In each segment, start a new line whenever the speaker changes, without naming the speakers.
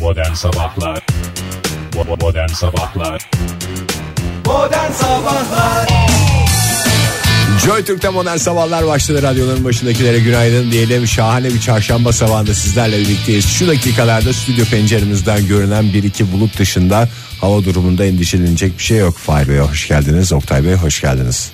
Modern Sabahlar Bo- Modern Sabahlar
Modern Sabahlar
Joy Türk'te modern sabahlar başladı. Radyoların başındakilere günaydın diyelim. Şahane bir çarşamba sabahında sizlerle birlikteyiz. Şu dakikalarda stüdyo penceremizden görünen bir iki bulut dışında hava durumunda endişelenecek bir şey yok. Fahir Bey hoş geldiniz. Oktay Bey hoş geldiniz.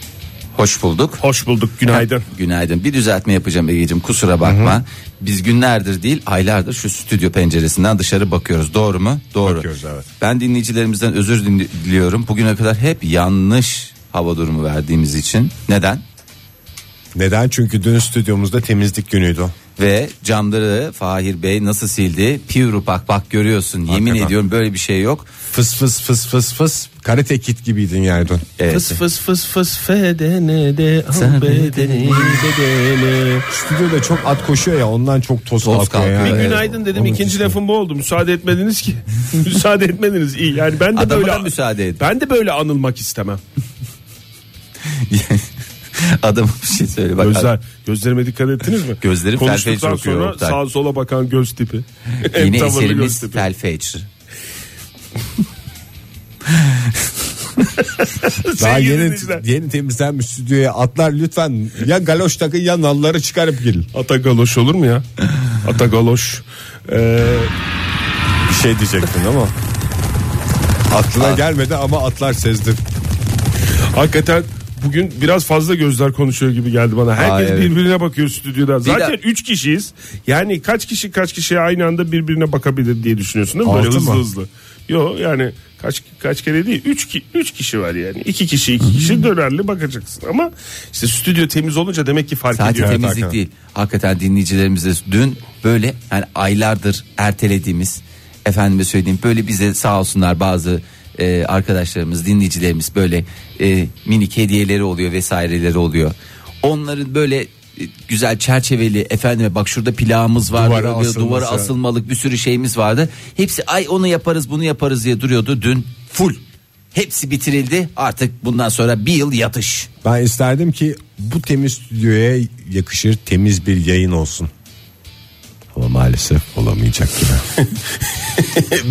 Hoş bulduk.
Hoş bulduk günaydın.
Günaydın. Bir düzeltme yapacağım Ege'cim kusura bakma. Biz günlerdir değil aylardır şu stüdyo penceresinden dışarı bakıyoruz. Doğru mu? Doğru.
Bakıyoruz, evet.
Ben dinleyicilerimizden özür din- diliyorum. Bugüne kadar hep yanlış hava durumu verdiğimiz için. Neden?
Neden? Çünkü dün stüdyomuzda temizlik günüydü.
Ve camları Fahir Bey nasıl sildi? Pivru bak bak görüyorsun. Yemin ediyorum böyle bir şey yok.
Fıs fıs fıs fıs fıs. Karate kit gibiydin yani dün.
Evet.
Fıs fıs fıs fıs fedene de al bedeni bedene.
Stüdyoda çok at koşuyor ya ondan çok toz, kalkıyor.
Toz kalkıyor.
yani.
Bir
Günaydın dedim
Onun
ikinci
için.
lafım bu oldu. Müsaade etmediniz ki. müsaade etmediniz iyi. Yani ben de
Adama
böyle
da müsaade edin.
Ben de böyle anılmak istemem.
Adama bir şey söyle bak.
Gözler gözlerime dikkat ettiniz mi?
Gözlerim
Konuştuktan
felfeci okuyor
sonra
Oktay.
sağa sola bakan göz tipi. En
Yeni
tavırlı
eserimiz
göz tipi.
Tel Fecr.
Daha
Sevgili
yeni,
dinleyiciler.
yeni temizlenmiş stüdyoya atlar lütfen ya galoş takın ya nalları çıkarıp girin.
Ata galoş olur mu ya? Ata galoş. Ee,
Bir şey diyecektin ama aklına gelmedi ama atlar sezdi.
hakikaten bugün biraz fazla gözler konuşuyor gibi geldi bana. Herkes
evet.
birbirine bakıyor stüdyoda. Zaten
de-
3 kişiyiz. Yani kaç kişi kaç kişiye aynı anda birbirine bakabilir diye düşünüyorsun değil mi? Böyle
Altı
hızlı
mı?
hızlı. Yok yani kaç kaç kere değil 3 3 kişi var yani. 2 kişi 2 kişi dönerli bakacaksın ama işte stüdyo temiz olunca demek ki fark
Sadece
ediyor.
temizlik
hakikaten.
değil. Hakikaten dinleyicilerimize dün böyle yani aylardır ertelediğimiz efendime söyleyeyim böyle bize sağ olsunlar bazı e, arkadaşlarımız dinleyicilerimiz böyle e, minik hediyeleri oluyor vesaireleri oluyor. Onların böyle e, güzel çerçeveli efendime bak şurada pilağımız var
Duvara
duvara,
asılması.
duvara asılmalık bir sürü şeyimiz vardı. Hepsi ay onu yaparız bunu yaparız diye duruyordu dün full. Hepsi bitirildi artık bundan sonra bir yıl yatış.
Ben isterdim ki bu temiz stüdyoya yakışır temiz bir yayın olsun. Ama maalesef olamayacak gibi.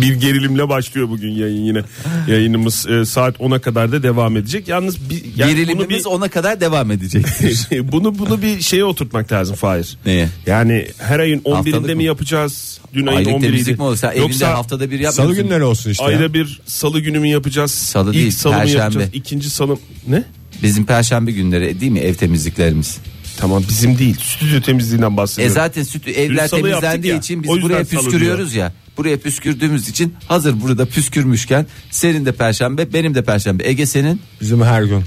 bir gerilimle başlıyor bugün yayın yine. Yayınımız e, saat 10'a kadar da devam edecek. Yalnız bir, yani bunu
Gerilimimiz
bir-
ona kadar devam edecektir.
Şey, bunu bunu bir şeye oturtmak lazım Fahir.
Neye?
Yani her ayın
Haftalık
11'inde
mı?
mi yapacağız? Dün ayın
Aylık
11'iydi.
temizlik mi olur? Sen evinde
Yoksa
haftada bir yapmıyorsun.
Salı günleri olsun işte. ya.
ayda bir salı günü mü yapacağız?
Salı
İlk
değil,
salı
perşembe.
mı yapacağız? İkinci salı ne?
Bizim perşembe günleri değil mi ev temizliklerimiz?
Tamam bizim değil. Stüdyo temizliğinden
E
bahsediyorum.
zaten sütü evler
salı
temizlendiği
yaptık ya,
için biz
o yüzden
buraya
salı
püskürüyoruz ya. Buraya püskürdüğümüz için hazır burada püskürmüşken senin de perşembe benim de perşembe Ege senin
Bizim her gün.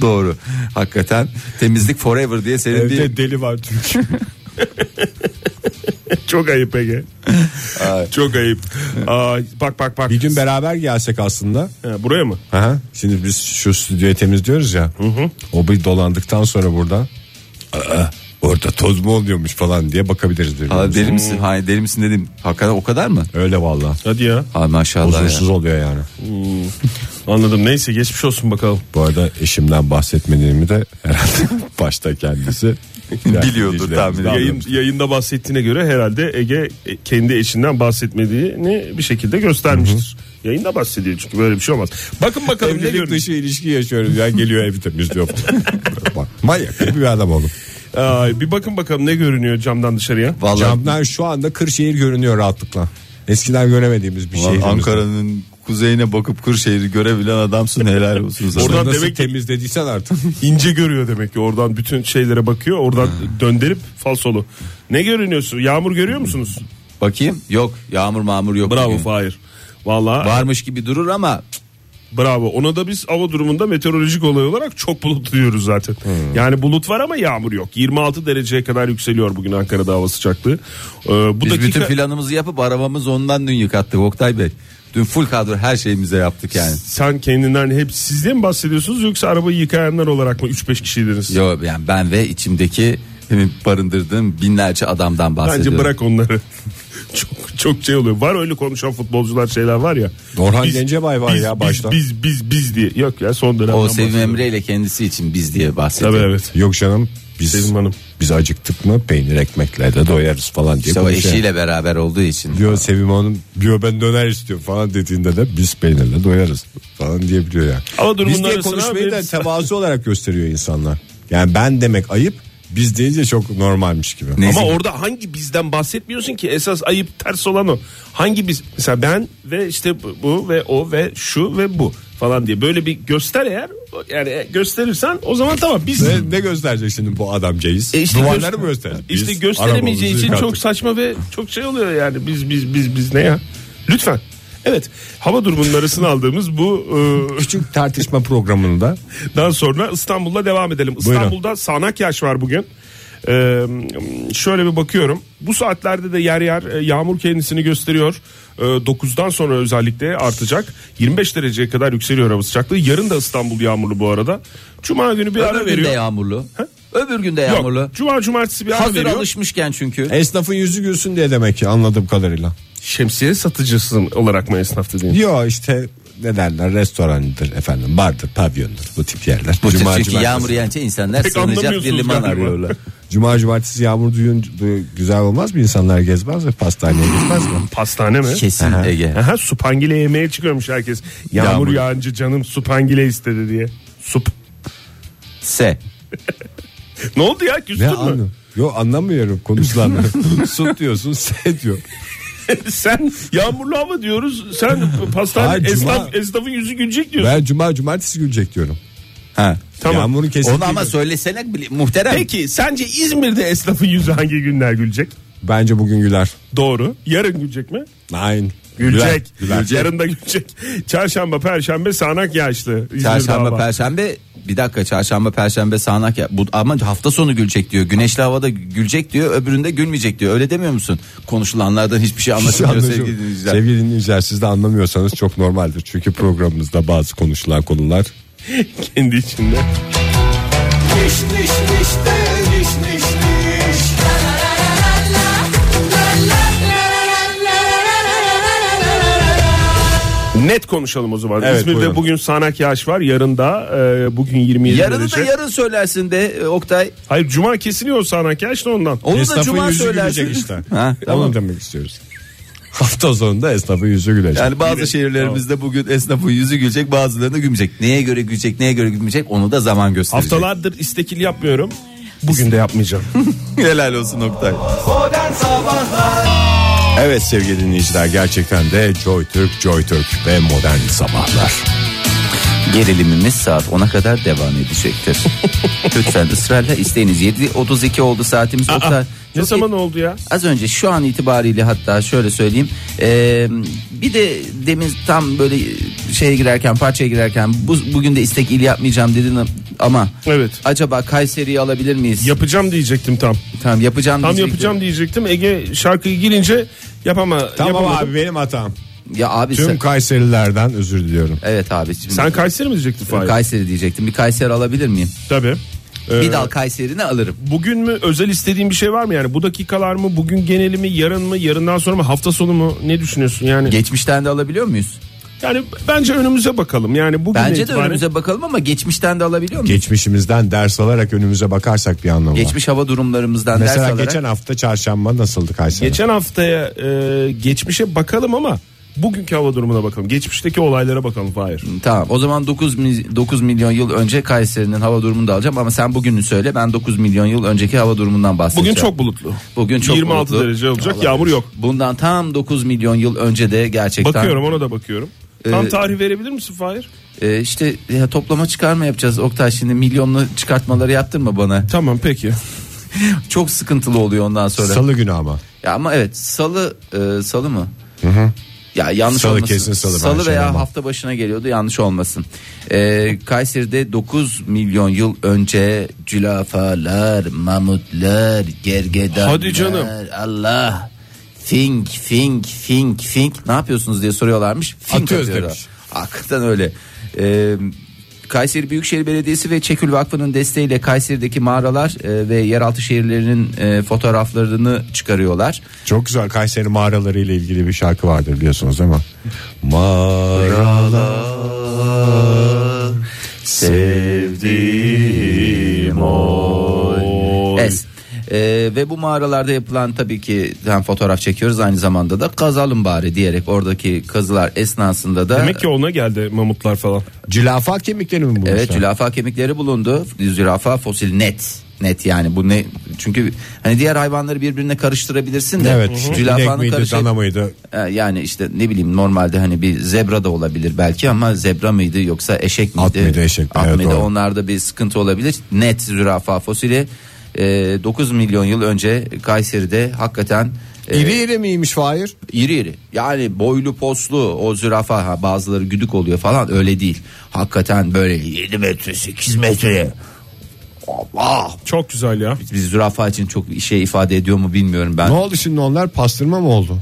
doğru hakikaten temizlik forever diye senin değil.
Evde deli var çünkü.
Çok ayıp Ege. Çok ayıp. Ay, bak bak bak.
bir gün beraber gelsek aslında.
Ha, buraya mı?
Aha. Şimdi biz şu stüdyoyu temizliyoruz ya. O bir dolandıktan sonra burada. Aa, orada toz mu oluyormuş falan diye bakabiliriz.
Aa,
birbirimize.
deli misin? Hayır deli misin dedim. Hakikaten o kadar mı?
Öyle valla.
Hadi ya.
Ay maşallah. ya.
Huzursuz oluyor yani.
Anladım. Neyse geçmiş olsun bakalım.
Bu arada eşimden bahsetmediğimi de herhalde başta kendisi
Biliyordur tahmin
Yayın-
Yayın, yayında bahsettiğine göre herhalde Ege e, kendi eşinden bahsetmediğini bir şekilde göstermiştir. Yayında bahsediyor çünkü böyle bir şey olmaz. Bakın bakalım ne
Evlilik
görmüş.
dışı ilişki yaşıyoruz ya geliyor evi temizliyor. Bak manyak gibi bir adam oğlum.
Ay, bir bakın bakalım ne görünüyor camdan dışarıya.
Vallahi,
Camdan şu anda Kırşehir görünüyor rahatlıkla. Eskiden göremediğimiz bir
Ulan
şey.
Ankara'nın kuzeyine bakıp Kırşehir'i görebilen adamsın helal olsun sana.
Oradan
Oradan nasıl
demek
demek
ki-
temizlediysen artık.
İnce görüyor demek ki oradan bütün şeylere bakıyor. Oradan döndürüp falsolu. Ne görünüyorsun? Yağmur görüyor musunuz?
Bakayım. Yok. Yağmur mağmur yok.
Bravo
bugün.
Fahir. Vallahi
Varmış gibi durur ama
bravo. Ona da biz hava durumunda meteorolojik olay olarak çok bulut diyoruz zaten. Yani bulut var ama yağmur yok. 26 dereceye kadar yükseliyor bugün Ankara'da hava sıcaklığı. Ee, bu
biz
dakika...
bütün planımızı yapıp arabamızı ondan dün yıkattık Oktay Bey. Dün full kadro her şeyimize yaptık yani.
Sen kendinden hep sizden mi bahsediyorsunuz yoksa arabayı yıkayanlar olarak mı 3-5 kişiydiniz?
Yo yani ben ve içimdeki benim barındırdığım binlerce adamdan
Bence
bahsediyorum.
bırak onları. çok çok şey oluyor. Var öyle konuşan futbolcular şeyler var ya.
Orhan Gencebay var
biz,
ya
biz,
başta.
Biz, biz biz diye. Yok ya son dönemden.
O Sevim
bahsediyorum.
Emre ile kendisi için biz diye
Tabii
bahsediyor.
evet.
Yok canım biz
Sevim Hanım.
Biz acıktık mı peynir ekmekle de doyarız falan diye.
İşte o
konuşuyor.
şey
eşiyle beraber olduğu için.
Diyor Sevim Hanım diyor ben döner istiyorum falan dediğinde de biz peynirle doyarız falan diyebiliyor ya.
Ama durumun
biz diye
arasına
konuşmayı da
veririz.
tevazu olarak gösteriyor insanlar. Yani ben demek ayıp biz deyince çok normalmiş gibi.
Ne?
Ama
Neyse.
orada hangi bizden bahsetmiyorsun ki esas ayıp ters olan o. Hangi biz mesela ben ve işte bu- bu ve o ve şu ve bu falan diye böyle bir göster eğer yani gösterirsen o zaman tamam biz
Ne, ne gösterecek şimdi bu adamcağız?
E işte
Duvarları
göster-
mı gösterecek?
işte
Biz
gösteremeyeceği
arabamızı
için
yıkardık.
çok saçma ve çok şey oluyor yani biz biz biz biz ne ya lütfen evet hava durumunun arasını aldığımız bu e,
Küçük tartışma programında
Daha sonra İstanbul'da devam edelim. İstanbul'da sağanak yağış var bugün. Ee, şöyle bir bakıyorum. Bu saatlerde de yer yer e, yağmur kendisini gösteriyor. Ee, 9'dan sonra özellikle artacak. 25 dereceye kadar yükseliyor hava sıcaklığı. Yarın da İstanbul yağmurlu bu arada. Cuma günü bir ara
Öbür gün de
veriyor.
yağmurlu. Öbür gün de
Yok,
yağmurlu.
Cuma cumartesi bir ara
Hazır
veriyor.
alışmışken çünkü.
esnafın yüzü gülsün diye demek ki anladığım kadarıyla.
Şemsiye satıcısı olarak mı esnaf dediğin?
Yo işte ne derler restorandır efendim bardır pavyondur bu tip yerler.
Bu
Cuma,
çünkü
cumartesi.
yağmur yağınca insanlar
Pek
sığınacak bir
anlamıyorsunuz
liman
galiba.
arıyorlar.
Cuma cumartesi yağmur duyun du- güzel olmaz mı insanlar gezmez mi pastaneye gitmez mi?
Pastane mi?
Kesin Ege.
Aha, supangile yemeğe çıkıyormuş herkes. Yağmur,
Yağmur.
yağınca canım supangile istedi diye. Sup.
S.
Ne oldu ya
Ne
küstün mü?
anlam? Yo anlamıyorum konuşulanları. Su diyorsun se diyor.
sen yağmurlu hava diyoruz. Sen pastane
Hayır, cuma-
esnaf, esnafın yüzü gülecek diyorsun.
Ben cuma cumartesi gülecek diyorum.
Ha.
Tamam.
Yağmurun kesildiği
Onu ama
gün.
söylesene bile- muhterem.
Peki sence İzmir'de esnafın yüzü hangi günler gülecek?
Bence bugün güler.
Doğru. Yarın gülecek mi?
Nein.
Gülecek.
Güler, güler.
Yarın da gülecek. Çarşamba, perşembe sağanak yağışlı. İzmir'de
Çarşamba,
hava.
perşembe bir dakika çarşamba, perşembe sağanak ya. Bu, ama hafta sonu gülecek diyor. Güneşli havada gülecek diyor. Öbüründe gülmeyecek diyor. Öyle demiyor musun? Konuşulanlardan hiçbir şey anlaşılmıyor
Anlaşılıyor.
sevgili dinleyiciler.
Sevgili dinleyiciler siz de anlamıyorsanız çok normaldir. Çünkü programımızda bazı konuşulan konular
Kendi içinde. Net konuşalım o zaman.
Evet,
İzmir'de
buyurun.
bugün sağanak yağış var. Yarın da e, bugün 27
Yarını da
derece.
yarın söylersin de e, Oktay.
Hayır cuma kesiliyor sağanak yağış da ondan.
Onu da
Esnafın
cuma
yüzü
söylersin.
gülecek işte.
Ha, tamam.
Onu demek istiyoruz. Hafta sonunda esnafın yüzü gülecek.
Yani bazı şehirlerimizde bugün esnafın yüzü gülecek bazılarını gülmeyecek. Neye göre gülecek neye göre gülmeyecek onu da zaman gösterecek.
Haftalardır istekil yapmıyorum. Bugün de yapmayacağım.
Helal olsun Oktay.
Evet sevgili dinleyiciler gerçekten de Joy Türk, Joy Türk ve Modern Sabahlar.
Gerilimimiz saat 10'a kadar devam edecektir. Lütfen ısrarla isteyiniz. 7.32 oldu saatimiz. Oktay,
ne
çok
zaman oldu ya?
Az önce şu an itibariyle hatta şöyle söyleyeyim. Ee, bir de demin tam böyle şeye girerken parçaya girerken bu, bugün de istek il yapmayacağım dedin ama
Evet.
acaba Kayseri'yi alabilir miyiz?
Yapacağım diyecektim tam.
tamam yapacağım
Tam
diyecektim.
yapacağım diyecektim. Ege şarkıyı girince yapama
Tamam
yapamadım.
abi benim hatam.
Ya abi
Tüm
sen-
Kayserilerden özür diliyorum.
evet abi. Şimdi
Sen Kayseri mi diyecektin Fahir?
Kayseri diyecektim. Bir Kayseri alabilir miyim?
Tabii. Ee,
Bir dal Kayseri'ni alırım.
Bugün mü özel istediğin bir şey var mı yani? Bu dakikalar mı? Bugün geneli mi? Yarın mı? Yarından sonra mı? Hafta sonu mu? Ne düşünüyorsun yani?
Geçmişten de alabiliyor muyuz?
yani bence önümüze bakalım. Yani bugün
Bence de
itibaren-
önümüze bakalım ama geçmişten de alabiliyor muyuz?
Geçmişimizden ders alarak önümüze bakarsak bir anlamı var.
Geçmiş hava durumlarımızdan
Mesela
ders alarak.
geçen hafta çarşamba nasıldı Kayseri?
Geçen haftaya e, geçmişe bakalım ama bugünkü hava durumuna bakalım. Geçmişteki olaylara bakalım Fahir.
Tamam o zaman 9, mi- 9 milyon yıl önce Kayseri'nin hava durumunu da alacağım ama sen bugünü söyle ben 9 milyon yıl önceki hava durumundan
Bugün
bahsedeceğim.
çok bulutlu.
Bugün çok
26
bulutlu.
derece olacak. Yağmur yok.
Bundan tam 9 milyon yıl önce de gerçekten
Bakıyorum ona da bakıyorum. Tam
Ee,
tarih verebilir misin Fahir?
e, işte ya, toplama çıkarma yapacağız Oktay şimdi milyonlu çıkartmaları yaptırma bana.
Tamam peki.
Çok sıkıntılı oluyor ondan sonra.
Salı günü ama.
Ya ama evet salı e, salı mı? Ya yanlış
Salı
olmasın.
kesin salı, ben
Salı
şey
veya
yapmam.
hafta başına geliyordu yanlış olmasın. Ee, Kayseri'de 9 milyon yıl önce cülafalar, mamutlar, gergedanlar.
Hadi canım.
Allah. Fink fink fink fink ne yapıyorsunuz diye soruyorlarmış. Fink
Atıyoruz
atıyorlar.
demiş.
Hakikaten öyle. Ee, Kayseri Büyükşehir Belediyesi ve Çekül Vakfı'nın desteğiyle Kayseri'deki mağaralar e, ve yeraltı şehirlerinin e, fotoğraflarını çıkarıyorlar.
Çok güzel Kayseri mağaraları ile ilgili bir şarkı vardır biliyorsunuz değil mi? Mağaralar
Sevdiğim
Oy.
Es. Ee, ve bu mağaralarda yapılan tabii ki hem fotoğraf çekiyoruz aynı zamanda da kazalım bari diyerek oradaki kazılar esnasında da
Demek ki ona geldi mamutlar falan.
Cilafa kemiklerini mi bulmuşlar?
Evet zürafa kemikleri bulundu. Zürafa fosil net. Net yani bu ne çünkü hani diğer hayvanları birbirine karıştırabilirsin de
Evet. işte İnek
zürafanın
miydi,
karışı-
dana mıydı?
E, yani işte ne bileyim normalde hani bir zebra da olabilir belki ama zebra mıydı yoksa eşek miydi?
At mıydı, eşek mi?
At
Evet,
mıydı?
doğru.
onlarda bir sıkıntı olabilir. Net zürafa fosili e, 9 milyon yıl önce Kayseri'de hakikaten e,
İri iri miymiş Fahir?
iri iri. Yani boylu poslu o zürafa ha, bazıları güdük oluyor falan öyle değil. Hakikaten böyle 7 metre 8 metre. Allah.
Çok güzel ya.
Biz zürafa için çok şey ifade ediyor mu bilmiyorum ben.
Ne oldu şimdi onlar pastırma mı oldu?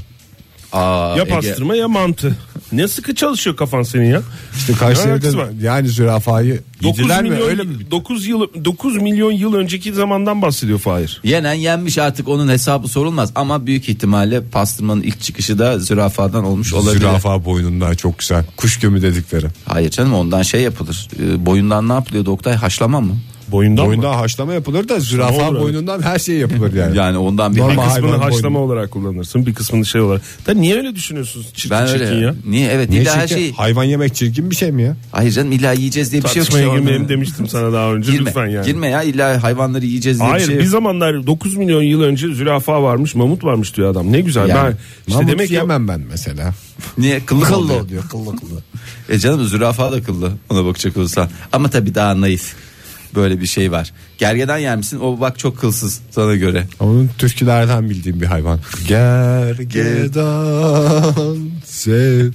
Aa,
Ya
Ege-
pastırma ya mantı. Ne sıkı çalışıyor kafan senin ya.
İşte
alakası
Kayseri'de
var?
yani zürafayı
9
yediler mi
milyon,
öyle mi?
9 yıl 9 milyon yıl önceki zamandan bahsediyor Fahir.
Yenen yenmiş artık onun hesabı sorulmaz ama büyük ihtimalle pastırmanın ilk çıkışı da zürafadan olmuş olabilir.
Zürafa boynundan çok güzel. Kuş gömü dedikleri.
Hayır canım ondan şey yapılır. Ee, boyundan ne yapılıyordu Oktay haşlama mı?
Boyundan mı?
Boyundan haşlama yapılır da
Ne
zürafa
olur,
boynundan her şey yapılır yani.
Yani ondan bir
Normal.
Bir
Ama
kısmını
hayvan
haşlama
boynu.
olarak kullanırsın bir kısmını şey olarak. Da niye öyle düşünüyorsunuz çirkin
ben
çirkin
öyle. şey
ya?
Niye evet
Ne
illa her
çirkin?
şey.
Hayvan yemek çirkin bir şey mi ya?
Hayır canım illa yiyeceğiz diye bir şey yok.
Tartışmaya
ki orada.
girmeyelim demiştim sana daha önce
Girme,
lütfen yani.
girme ya illa hayvanları yiyeceğiz diye
Hayır
bir şey
bir
yok.
zamanlar 9 milyon yıl önce zürafa varmış mamut varmış diyor adam ne güzel.
Yani,
ben, işte
Mamut
demek ki
yemem ben mesela.
Niye kıllı
Kıllı
kıllı?
oluyor kıllı kıllı.
E canım zürafa da kıllı ona bakacak olursan. Ama tabii daha naif böyle bir şey var. Gergedan yer misin? O bak çok kılsız sana göre.
Onun türkülerden bildiğim bir hayvan. Gergedan sev.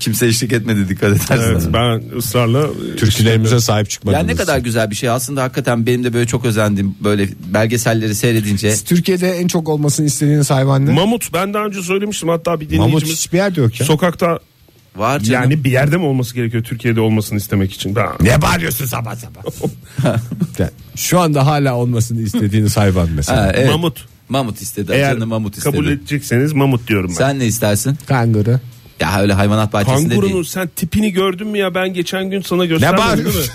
Kimse eşlik etmedi dikkat edersen.
evet, ben ısrarla
Türkülerimize sahip
Ya
çıkmadınız.
ne kadar güzel bir şey aslında hakikaten benim de böyle çok özendiğim böyle belgeselleri seyredince
Türkiye'de en çok olmasını istediğiniz hayvan ne?
Mamut ben daha önce söylemiştim hatta bir
Mamut
dinleyicimiz
hiçbir yerde yok ya.
sokakta
var canım.
yani bir yerde mi olması gerekiyor Türkiye'de olmasını istemek için. Ben,
ne bağırıyorsun sabah sabah? Yani şu anda hala olmasını istediğiniz hayvan mesela.
e-
Ha, evet.
Mamut.
Mamut istedi.
Eğer
Canım mamut istedi.
kabul edecekseniz mamut diyorum ben.
Sen ne istersin?
Kanguru.
Ya öyle hayvanat bahçesinde
Kangurunun
değil.
sen tipini gördün mü ya ben geçen gün sana
Ne
gösterdim
bağırıyorsun?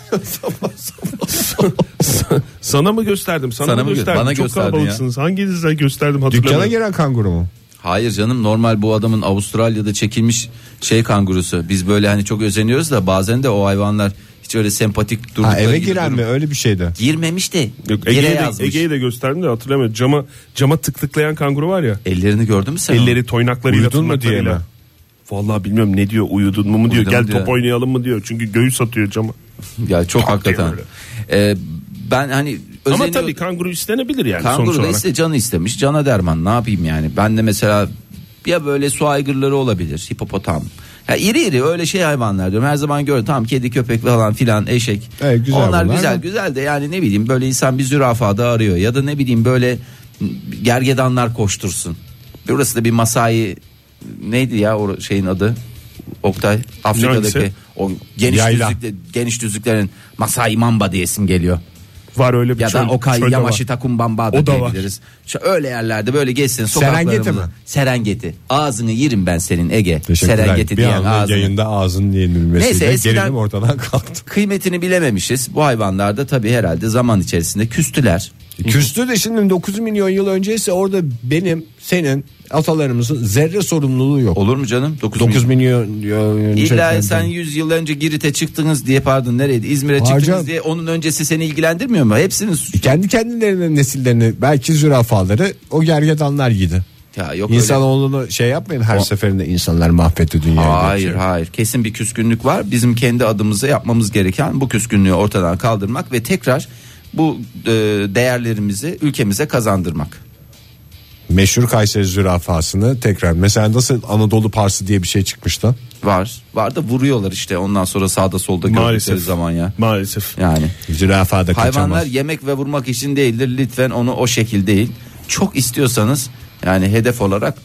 Sana mı gösterdim? Sana,
Sana
mı
mı gö-
gösterdim?
bana
Çok
gösterdin ya.
kalabalıksınız. Hanginizden gösterdim
Dükkana
hatırlamıyorum.
gelen kanguru mu?
Hayır canım normal bu adamın Avustralya'da çekilmiş şey kangurusu. Biz böyle hani çok özeniyoruz da bazen de o hayvanlar hiç öyle sempatik durdukları
Ha, eve
gibi
giren
durum-
mi? Öyle bir şey şeydi.
Girmemiş de
Yok,
yere
Ege'yi, de,
yazmış.
Ege'yi de gösterdim de hatırlamıyorum. Cama, cama tık tıklayan kanguru var ya.
Ellerini gördün mü sen? onu?
Elleri toynaklarıyla
Uyudun mu diye
tırnaklarıyla.
mi?
Vallahi bilmiyorum ne diyor uyudun mu mu diyor.
Uyudum
Gel
diyor.
top oynayalım mı diyor. Çünkü göğüs atıyor cama.
Ya çok
Tak diye
hakikaten.
böyle.
Ee, ben hani
Ama
özeniyor-
tabii kanguru istenebilir yani sonuç
Kanguru da
olarak.
iste canı istemiş. Cana derman ne yapayım yani. Ben de mesela ya böyle su aygırları olabilir. Hipopotam. Ya iri iri öyle şey hayvanlar diyorum. Her zaman gördüm. Tam kedi köpek falan filan eşek.
Evet, güzel
Onlar
bunlar
güzel
da.
güzel de yani ne bileyim böyle insan bir zürafada arıyor. Ya da ne bileyim böyle gergedanlar koştursun. Burası da bir masai neydi ya o şeyin adı? Oktay Afrika'daki
Hangisi?
o geniş
Yayla.
düzlükle, geniş düzlüklerin Masai Mamba diyesim geliyor.
Var öyle bir
Ya da
çöl-
Okay
çöl de var.
Yamashi Takumbamba da
O da var.
diyebiliriz. Şu öyle yerlerde böyle geçsin
Serengeti
sokaklarımızda.
mi?
Serengeti. Ağzını yerim ben senin Ege. Serengeti
bir
diyen
anda
ağzını.
yayında ağzının yenilmesiyle
Neyse, eskiden-
gerilim ortadan kalktı.
Kıymetini bilememişiz. Bu hayvanlar da tabii herhalde zaman içerisinde küstüler.
Küstü de şimdi 9 milyon yıl önceyse orada benim, senin, atalarımızın zerre sorumluluğu yok.
Olur mu canım? 9,
9
milyon.
milyon yıl önce.
İlla sen 100 yıl önce Girit'e çıktınız diye pardon nereydi İzmir'e
Hocam-
çıktınız diye onun öncesi seni ilgilendirmiyor mu? Hepsinin suçu.
kendi kendilerinin nesillerini belki zürafaları o gergedanlar yedi.
Ya yok öyle-
İnsanoğlunu şey yapmayın her seferinde insanlar mahvetti dünyayı.
Hayır hayır kesin bir küskünlük var. Bizim kendi adımıza yapmamız gereken bu küskünlüğü ortadan kaldırmak ve tekrar bu e, değerlerimizi ülkemize kazandırmak.
Meşhur Kayseri zürafasını tekrar mesela nasıl Anadolu parsı diye bir şey çıkmıştı.
Var. Var da vuruyorlar işte ondan sonra sağda solda gördükleri
Maalesef.
zaman ya.
Maalesef.
Yani
Zürafa da
hayvanlar
kaçamaz.
yemek ve vurmak için değildir. Lütfen onu o şekil değil. Çok istiyorsanız yani hedef olarak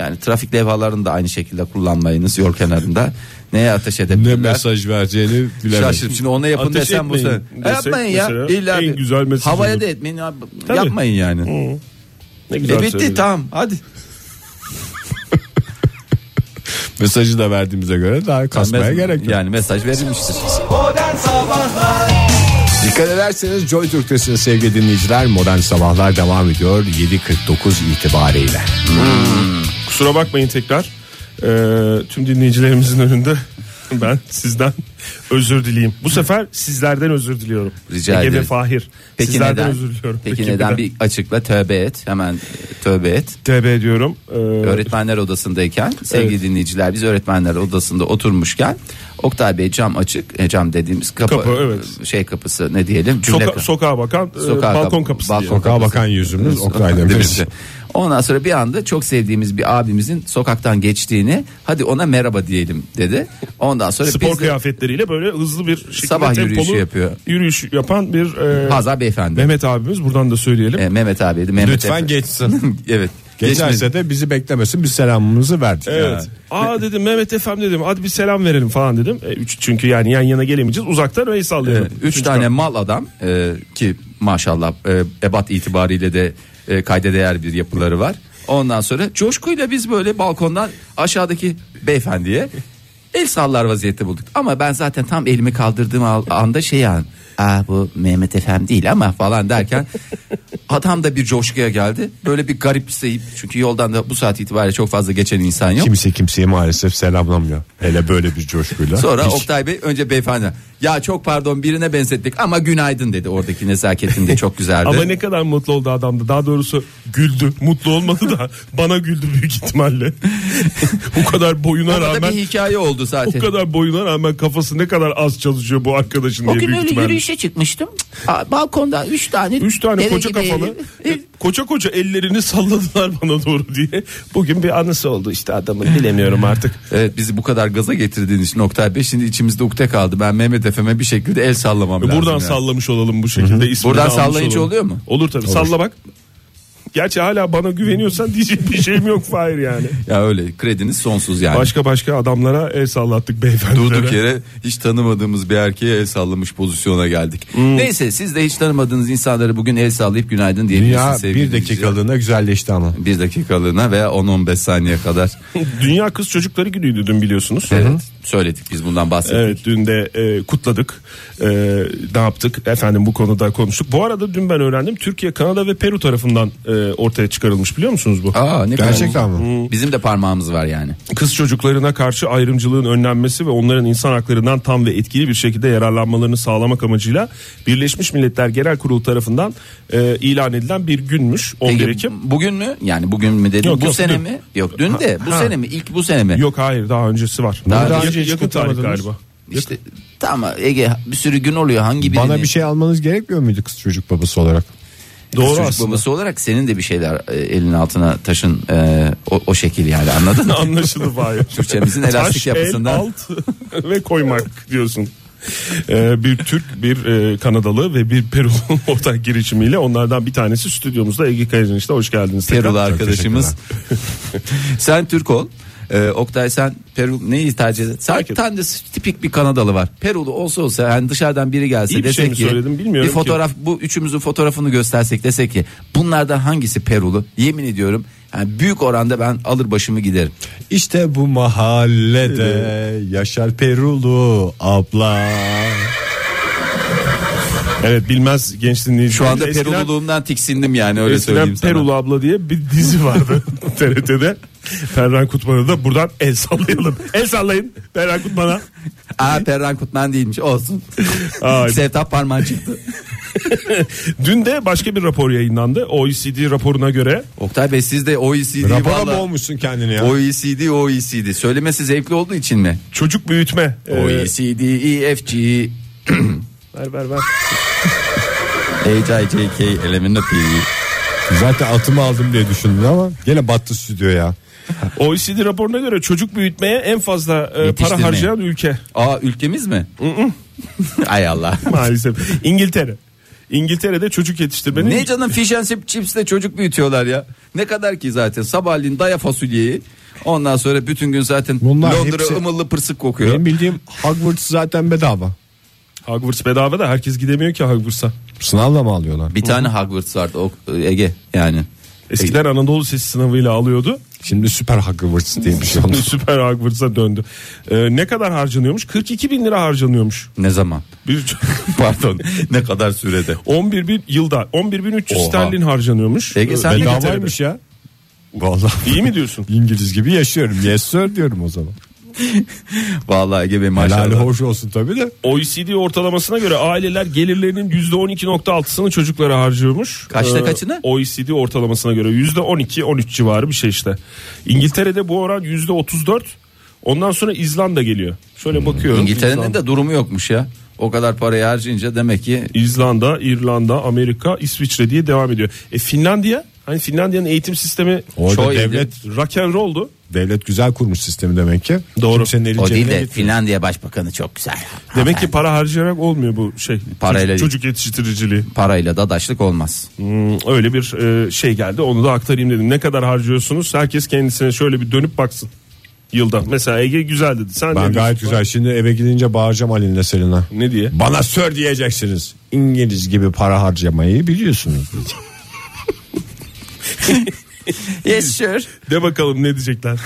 yani trafik levhalarını da aynı şekilde kullanmayınız yol kenarında. Neye ateş
Ne
edebilirler?
mesaj vereceğini bilemem.
Şaşırıp şimdi ona yapın
Ateş
desem bu
etmeyin desek
sene. E, Yapmayın ya.
mesela
İlla
en
bir-
güzel mesaj
Havaya
olur.
da etmeyin. ya.
Tabii.
Yapmayın yani.
Ne
E bitti
söyledin.
tamam hadi.
Mesajı da verdiğimize göre daha kasmaya
Mes-
gerek yok.
Yani mesaj verilmiştir.
Dikkat ederseniz Joy Türk'tesiniz sevgili dinleyiciler. Modern Sabahlar devam ediyor 7.49 itibariyle.
Kusura bakmayın tekrar. Ee, tüm dinleyicilerimizin önünde ben sizden özür dileyim. Bu sefer sizlerden özür diliyorum.
Rica
Ege
ederim.
ve Fahir.
Peki
sizlerden
neden?
özür diliyorum.
Peki,
neden?
neden bir açıkla tövbe et. Hemen e, tövbe et.
TB diyorum. Ee,
Öğretmenler odasındayken sevgili dinleyiciler biz öğretmenler odasında oturmuşken Oktay Bey cam açık e, cam dediğimiz kapı,
Kapı, evet.
şey kapısı ne diyelim
soka-
cümle kapı-
sokağa bakan e,
Sokağa
balkon
kap-
kapısı
balkon
diye.
kapısı.
Sokağa bakan yüzümüz Oktay Demirci.
Ondan sonra bir anda çok sevdiğimiz bir abimizin sokaktan geçtiğini hadi ona merhaba diyelim dedi. Ondan sonra
Spor
biz de-
kıyafetleriyle böyle hızlı bir şekilde
Sabah
tempolu
yürüyüşü yapıyor.
Yürüyüş yapan bir e,
Pazar beyefendi. Mehmet,
Mehmet abimiz buradan da söyleyelim.
e, Mehmet abiydi. Mehmet
Lütfen
Efe-
geçsin.
evet.
Geçerse de bizi beklemesin biz selamımızı verdik.
Evet. Aa dedim Mehmet efem dedim. Hadi bir selam verelim falan dedim. E, üç, çünkü yani yan yana gelemeyeceğiz. Uzaktan el
Ee,
sallayalım.
Üç tane mal adam e, ki maşallah e, ebat itibariyle de e, kayda değer bir yapıları var. Ondan sonra coşkuyla biz böyle balkondan aşağıdaki beyefendiye el sallar vaziyette bulduk. Ama ben zaten tam elimi kaldırdığım al- anda şey an Aa bu Mehmet Efem değil ama falan derken adam da bir coşkuya geldi. Böyle bir garipseyip çünkü yoldan da bu saat itibariyle çok fazla geçen insan yok.
Kimse kimseyi maalesef selamlamıyor. Hele böyle bir coşkuyla.
Sonra
Hiç.
Oktay Bey önce beyefendi ya çok pardon birine benzettik ama günaydın dedi oradaki nezaketinde çok güzeldi.
Ama ne kadar mutlu oldu adam da. Daha doğrusu güldü. Mutlu olmadı da bana güldü büyük ihtimalle. bu kadar boyuna
Orada
rağmen
bir hikaye oldu
o
zaten.
kadar boyuna rağmen kafası ne kadar az çalışıyor bu arkadaşın
O
diye
gün
büyük
öyle
ihtimalle.
yürüyüşe çıkmıştım. Aa, Balkondan üç tane.
Üç tane
deve
koca
gibi
kafalı e,
herif.
koca koca ellerini salladılar bana doğru diye. Bugün bir anısı oldu işte adamın bilemiyorum artık.
Evet bizi bu kadar gaza getirdiğin için Oktay Bey şimdi içimizde ukde kaldı. Ben Mehmet Efem'e bir şekilde el sallamam lazım.
E, Buradan
yani.
sallamış olalım bu şekilde. ismini
Buradan
almış
sallayınca
olalım.
oluyor mu?
Olur tabii salla bak. Gerçi hala bana güveniyorsan diyecek bir şeyim yok Fahir yani.
Ya öyle krediniz sonsuz yani.
Başka başka adamlara el sallattık beyefendilere.
Durduk yere hiç tanımadığımız bir erkeğe el sallamış pozisyona geldik.
Hmm.
Neyse siz de hiç tanımadığınız insanlara bugün el sallayıp günaydın
Dünya
diyebilirsiniz sevgili
bir
dinleyiciler.
dakikalığına güzelleşti ama.
bir dakikalığına veya 10-15 saniye kadar.
Dünya Kız Çocukları Günü'ydü dün biliyorsunuz.
Evet, söyledik biz bundan bahsettik.
Evet dün de e, kutladık. E, ne yaptık? Efendim bu konuda konuştuk. Bu arada dün ben öğrendim. Türkiye, Kanada ve Peru tarafından e, ortaya çıkarılmış biliyor musunuz bu?
Aa ne kadar-
Gerçekten mi?
Bizim de parmağımız var yani.
Kız çocuklarına karşı ayrımcılığın önlenmesi ve onların insan haklarından tam ve etkili bir şekilde yararlanmalarını sağlamak amacıyla Birleşmiş Milletler Genel Kurulu tarafından e, ilan edilen bir günmüş 11
Peki,
Ekim.
Bugün mü? Yani bugün mü dedim?
Yok,
bu
yok,
sene
dün.
mi? Yok dün de. Bu
Ha.
sene mi? İlk bu sene mi?
Yok hayır daha öncesi var.
Daha
Ya-
önce hiç
yakın tarih
kutlamadınız.
galiba.
İşte tamam Ege bir sürü gün oluyor hangi birini?
Bana bir şey almanız gerekmiyor muydu kız çocuk babası olarak?
Doğru
Çocuk
aslında.
babası olarak senin de bir şeyler e, elin altına taşın e, o, o şekil yani anladın mı?
Anlaşıldı Fahir.
Türkçemizin elastik
Taş, el,
yapısından.
alt ve koymak diyorsun. Ee, bir Türk, bir e, Kanadalı ve bir Perulu'nun ortak girişimiyle onlardan bir tanesi stüdyomuzda Ege Kayacanış'ta hoş geldiniz. tekrar.
Perulu
Çok
arkadaşımız. sen Türk ol. Ee, Oktay sen Peru neyi tercih et? Sen
Fark
bir
et-
tane tipik bir Kanadalı var. Perulu olsa olsa yani dışarıdan biri gelse
İyi bir şey
desek
mi
ki
söyledim bilmiyorum
bir fotoğraf bu üçümüzün fotoğrafını göstersek desek ki bunlardan hangisi Perulu? Yemin ediyorum yani büyük oranda ben alır başımı giderim.
İşte bu mahallede Yaşar Perulu abla.
Evet bilmez genç dinleyici.
Şu anda
Eskiden-
Perululuğumdan tiksindim yani öyle
Eskiden
söyleyeyim sana.
Perulu abla diye bir dizi vardı TRT'de. Ferhan Kutman'a da buradan el sallayalım. El sallayın Ferhan Kutman'a.
Aa Perran Kutman değilmiş olsun.
Ay.
Sevtap parmağın çıktı.
Dün de başka bir rapor yayınlandı. OECD raporuna göre
Oktay Bey siz de OECD'yi
Rapora mı
valla- E
olmuşsun kendini ya?
OECD OECD söylemesi zevkli olduğu için mi?
çocuk büyütme.
Ee,
e,
O, E, C, D, E, F, G,
ver ver ver.
H, I, J, K, L, M, N, P.
Zaten atımı aldım diye düşündüm ama gene battı stüdyo ya.
OECD E raporuna göre çocuk büyütmeye en fazla e, para
Yetiştirmeye.
harcayan ülke
Aa ülkemiz mi? Ay Allah.
maalesef. İngiltere. İngiltere'de çocuk yetiştirmenin
Ne canım fish and chipsle çocuk büyütüyorlar ya. Ne kadar ki zaten sabahleyin daya fasulyeyi. Ondan sonra bütün gün zaten
Bunlar
Londra
hepsi-
ımıllı pırsık kokuyor.
Benim bildiğim Hogwarts zaten bedava.
Hogwarts bedava da herkes gidemiyor ki Hogwarts'a.
Sınavla mı alıyorlar?
Bir tane Hogwarts vardı o- Ege yani.
Eskiden Anadolu Sesi sınavıyla alıyordu.
Şimdi süper Hogwarts diye bir şey oldu.
Süper Hogwarts'a döndü. Ee, ne kadar harcanıyormuş? 42 bin lira harcanıyormuş.
Ne zaman?
Bir,
Pardon. ne kadar sürede?
11 bin yılda 11 bin 300
Oha.
sterlin harcanıyormuş.
Ege,
Ee,
sen de
İngiltere'de.
Davaymış ya. Vallahi
İyi mi diyorsun?
İngiliz gibi yaşıyorum. Yes sir diyorum o zaman.
Vallahi Ege Bey
Helali
maşallah.
hoş olsun tabii de.
OECD E ortalamasına göre aileler gelirlerinin %12.6'sını çocuklara harcıyormuş. Ee,
Kaçta kaçını?
OECD ortalamasına göre %12-13 civarı bir şey işte. İngiltere'de bu oran %34. Ondan sonra İzlanda geliyor. Şöyle bakıyorum.
İngiltere'nin
İzlanda,
de durumu yokmuş ya. O kadar parayı harcayınca demek ki
İzlanda, İrlanda, Amerika, İsviçre diye devam ediyor. E Finlandiya? Hani Finlandiya'nın eğitim sistemi
Orada
Çoğu
devlet
rock and roll'du.
devlet güzel kurmuş sistemi demek ki.
Doğru.
Kimsenin eli
o değil
cebine
de
gitmiyor.
Finlandiya Başbakanı çok güzel.
Demek ki para harcayarak olmuyor bu şey.
Parayla
çocuk, çocuk yetiştiriciliği.
Parayla dadaşlık olmaz.
Hmm, öyle bir e, şey geldi. Onu da aktarayım dedim. Ne kadar harcıyorsunuz? Herkes kendisine şöyle bir dönüp baksın. Yılda. Mesela Ege güzel dedi. Sen ne
Ben
diyorsun?
gayet güzel. Şimdi eve gidince bağıracağım Ali'nin Selin'e.
Ne diye?
Bana sör diyeceksiniz. İngiliz gibi para harcamayı biliyorsunuz.
Yes sure.
De bakalım ne diyecekler.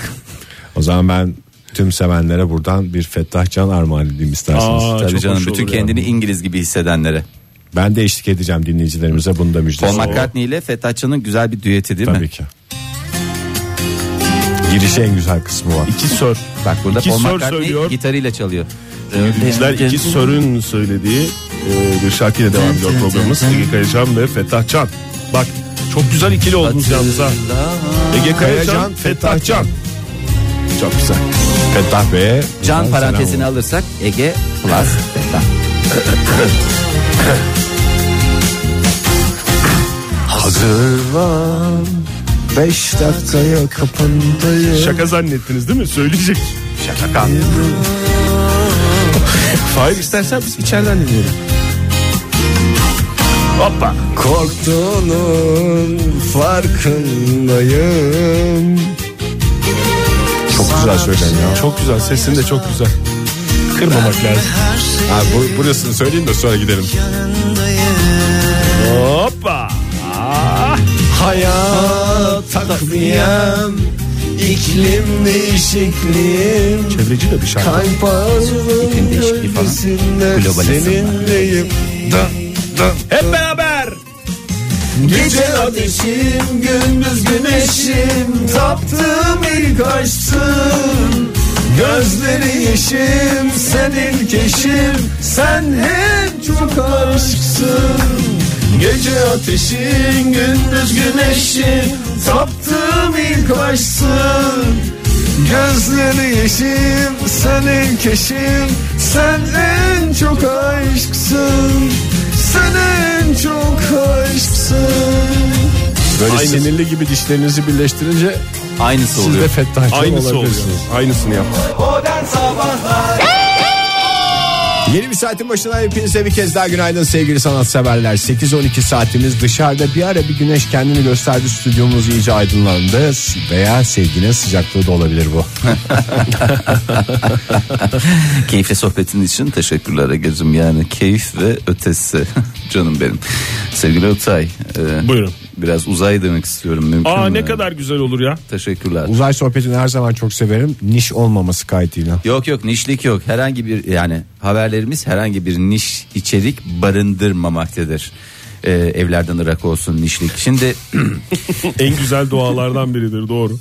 o zaman ben tüm sevenlere buradan bir Fettah Can armağan edeyim isterseniz.
Aa,
Tabii
çok
canım
hoş
bütün
olur
kendini İngiliz gibi hissedenlere.
Ben de eşlik edeceğim dinleyicilerimize bunu da
Paul
müjdesi.
McCartney ile Fethatçı'nın güzel bir düeti değil mi?
Tabii ki. Girişi en güzel kısmı var.
İki sör.
Bak burada
İki
Paul
sör
McCartney
söylüyor.
gitarıyla çalıyor. Ee,
Dinleyiciler iki sörün söylediği e, bir şarkıyla devam ediyor programımız. Ege Kayacan ve Fettah Can. Bak çok güzel ikili oldunuz yalnız ha. Ege Kayacan, Fettah Can.
Çok güzel. Fettah Bey'e
Can
buradan
parantezini
selam
alırsak Ege plus Fethat.
Hazırlan. Beş dakikaya kapındayım.
Şaka zannettiniz değil mi? Söyleyecek. Şaka. Hayır istersen biz içeriden dinleyelim. Hoppa.
Korktuğunun farkındayım. Çok güzel söylen ya.
Çok güzel sesin de çok güzel. Kırmamak lazım.
Ha, bu, burasını söyleyeyim de sonra gidelim.
Hoppa. Ah.
Hayat takviyem iklim değişikliğim
Çevreci de bir şarkı.
kalp
İklim değişikliği falan.
bölgesinde
Globalizm var.
seninleyim da, da.
Hep beraber.
Gece ateşim gündüz güneşim Taptığım ilk aşksın Gözleri yeşim sen ilk eşim Sen en çok aşksın Gece ateşin gündüz güneşin Taptığım ilk aşksın Gözleri yeşim sen ilk eşim Sen en çok aşksın Sen en çok aşksın Böyle
Aynı-
sinirli gibi dişlerinizi birleştirince
Aynısı
siz
oluyor.
de fettahçı
Aynısı oluyor.
olabilirsiniz.
Aynısını yap.
Yeni bir saatin başına hepinize bir kez daha günaydın sevgili sanatseverler. 8-12 saatimiz dışarıda bir ara bir güneş kendini gösterdi stüdyomuz iyice aydınlandı veya sevginin sıcaklığı da olabilir bu.
Keyifli sohbetin için teşekkürler Ege'cim. Yani keyif ve ötesi canım benim. Sevgili Oktay. e,
Buyurun.
Biraz uzay demek istiyorum mümkün
Aa
mü?
ne kadar güzel olur ya.
Teşekkürler.
Uzay sohbetini her zaman çok severim niş olmaması kaydıyla.
Yok yok nişlik yok. Herhangi bir yani haberlerimiz herhangi bir niş içerik barındırmamaktadır. Ee, evlerden ırak olsun nişlik. Şimdi
En güzel dualardan biridir doğru.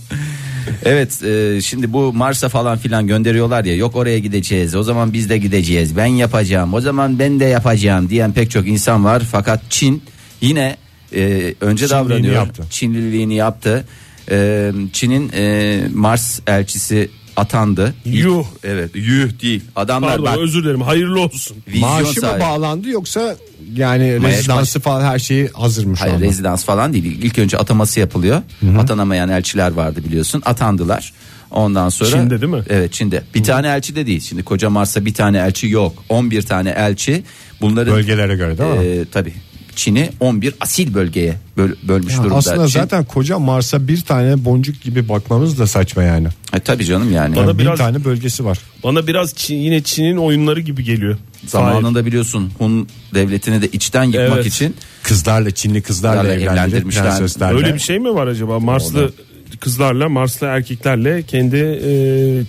evet e, şimdi bu Mars'a falan filan gönderiyorlar ya yok oraya gideceğiz o zaman biz de gideceğiz ben yapacağım o zaman ben de yapacağım diyen pek çok insan var fakat Çin yine e, önce davranıyor
yaptı.
Çinliliğini yaptı Ee, Çin'in e, Mars elçisi atandı
Yuh.
evet yuh değil adamlar
Pardon
bak
özür dilerim hayırlı olsun.
vizyon
Maaşı mı
sahibi.
bağlandı yoksa yani
Maaş-
rezidansı falan her şeyi hazırmış
Hayır rezidans falan değil. İlk önce ataması yapılıyor. Atanamayan elçiler vardı biliyorsun. Atandılar. Ondan sonra
Çin'de değil mi?
Evet Çin'de. Bir tane elçi de değil. Şimdi koca Mars'ta bir tane elçi yok. 11 tane elçi. Bunların
Bölgelere göre değil mi?
Ee, tabii. Çin'i 11 asil bölgeye böl- bölmüş durumda.
Aslında
Çin-
zaten koca Mars'a bir tane boncuk gibi bakmamız da saçma yani.
E, tabii canım yani.
Bana
Yani
biraz-
Bir tane bölgesi var.
Bana biraz Çin, yine Çin'in oyunları gibi geliyor.
Zamanında biliyorsun Hun devletini de içten yıkmak
Evet.
için
Kızlarla Çinli kızlarla
Kızlarla
evlendirip
evlendirmişler.
prenseslerle.
Öyle bir şey mi var acaba? Marslı kızlarla, Marslı erkeklerle kendi e,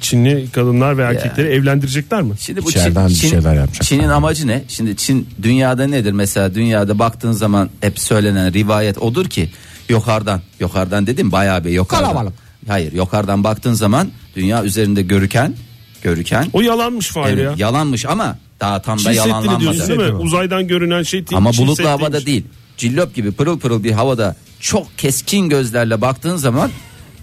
Çinli kadınlar ve erkekleri evlendirecekler mi?
Şimdi bu
İçeriden bir
Çin, Çin-
şeyler yapacak.
Çin'in amacı ne? Şimdi Çin dünyada nedir? Mesela dünyada baktığın zaman hep söylenen rivayet odur ki yukarıdan, yukarıdan dedim bayağı bir yukarıdan.
Kalabalık.
Hayır, yukarıdan baktığın zaman dünya üzerinde görüken, görüken
O yalanmış Fahir
yani
ya.
yalanmış ama daha tam
Çin
da
Seddi'ni diyorsun
yalanlanmadı.
değil mi? Uzaydan görünen şey değil.
Ama
Çin
bulutlu
Seddi'ymiş.
havada değil. Cillop gibi pırıl pırıl bir havada çok keskin gözlerle baktığın zaman